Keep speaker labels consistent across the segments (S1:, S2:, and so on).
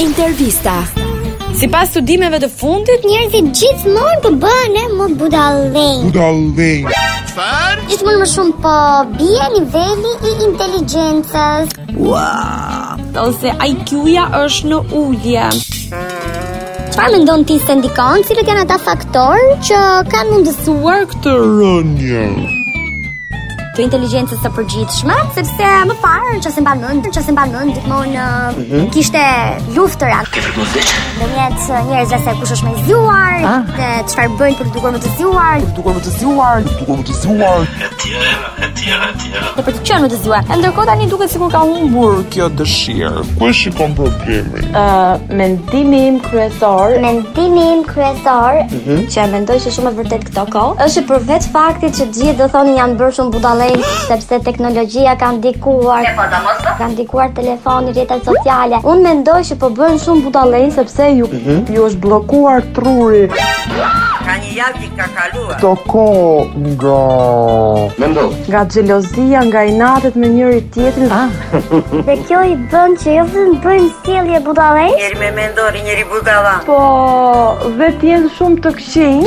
S1: Intervista.
S2: Si pas studimeve të fundit,
S3: Njerëzit gjithmonë po bëhen e më budallënj.
S4: Budallënj.
S3: Gjithmonë më shumë po bie niveli i inteligjencës.
S2: ose IQ-ja është në ullje.
S3: Çfarë mendon ti se ndikon cilët janë ata faktorë që kanë mundësuar
S4: Të rënjë.
S3: këtë inteligjencës së përgjithshme, sepse më parë në çështë mban mend, çështë mban mend gjithmonë ë, kishte luftëra. Ke vërtetë? Ndërmjet ë, uh, njerëzve se kush është më i zgjuar, dhe çfarë bëjnë për të dukur më të zgjuar,
S4: Dukur më të zjuar. Dukur më të zjuar.
S3: dhe për të qenë më të zgjuar. E Ndërkohë tani duket sikur ka humbur
S4: Por kjo dëshirë. Ku e shikon problemin?
S5: Mendimi im kryesor
S3: Mendimi im kryesor
S5: që e mendoj se shumë e vërtet këto kohë është përveç faktit që gjithë do thonë janë bërë shumë budallëj sepse teknologjia ka ndikuar. Ka ndikuar telefoni, rrjetet sociale. Unë mendoj që po bën shumë budallëj sepse ju
S6: ju është bllokuar truri
S7: Ka një javë që ka kaluar.
S4: Të ko nga...
S6: nga xhelozia, nga inatet me njëri tjetrin.
S3: Dhe kjo i bën që jo vetëm bëjmë sjellje budallësh,
S7: Njeri me mendori, njeri budala.
S6: Po vetë jenë shumë të këqinj.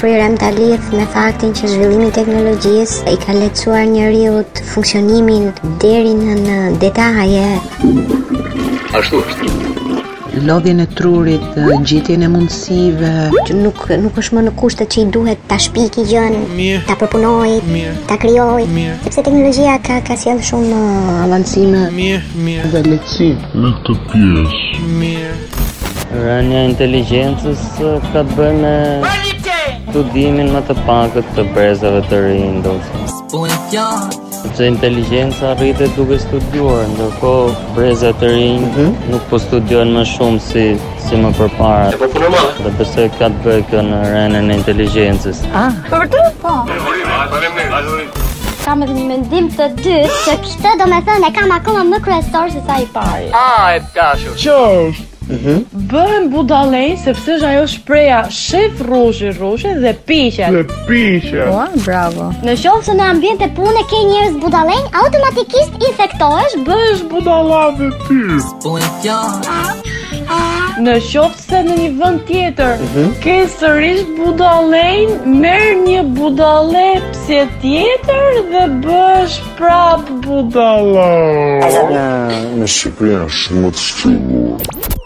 S3: Prirem ta lidh me faktin që zhvillimi i teknologjisë i ka lehtësuar njeriu funksionimin deri në, në detaje.
S8: lodhjen e trurit, gjitjen e mundësive,
S3: që nuk nuk është më në kushtet që i duhet ta shpiki gjën, ta përpunoj, ta krijoj, sepse teknologjia ka ka sjell shumë uh, avancime.
S9: Rënja e inteligjencës eh, ka të bëjë me studimin më të pakët të brezave të rinj, do të thotë. Sepse inteligjenca rritet duke studiuar, ndërkohë brezat të rinj nuk po studiojnë më shumë si si më përpara. Po punë më. Dhe besoj ka të bëjë kjo në rënjen e inteligjencës.
S5: kam edhe një mendim të dytë që
S3: Këtë do me thënë e kam akoma më kryesor se sa i pari.
S6: Bëhen budallëj sepse është ajo shpreha shef rruzhi rruzhi dhe piqet.
S4: Dhe pishe.
S3: Në qoftë se në ambient e pune ke njerëz budallënj, automatikisht infektohesh,
S4: Vesh budala me ty.
S6: Në qoftë se në një vend tjetër ke sërish budallëj, merr një budallë pse tjetër dhe bësh prap budallë.
S4: Në Shqipëri është shumë të shtyllur.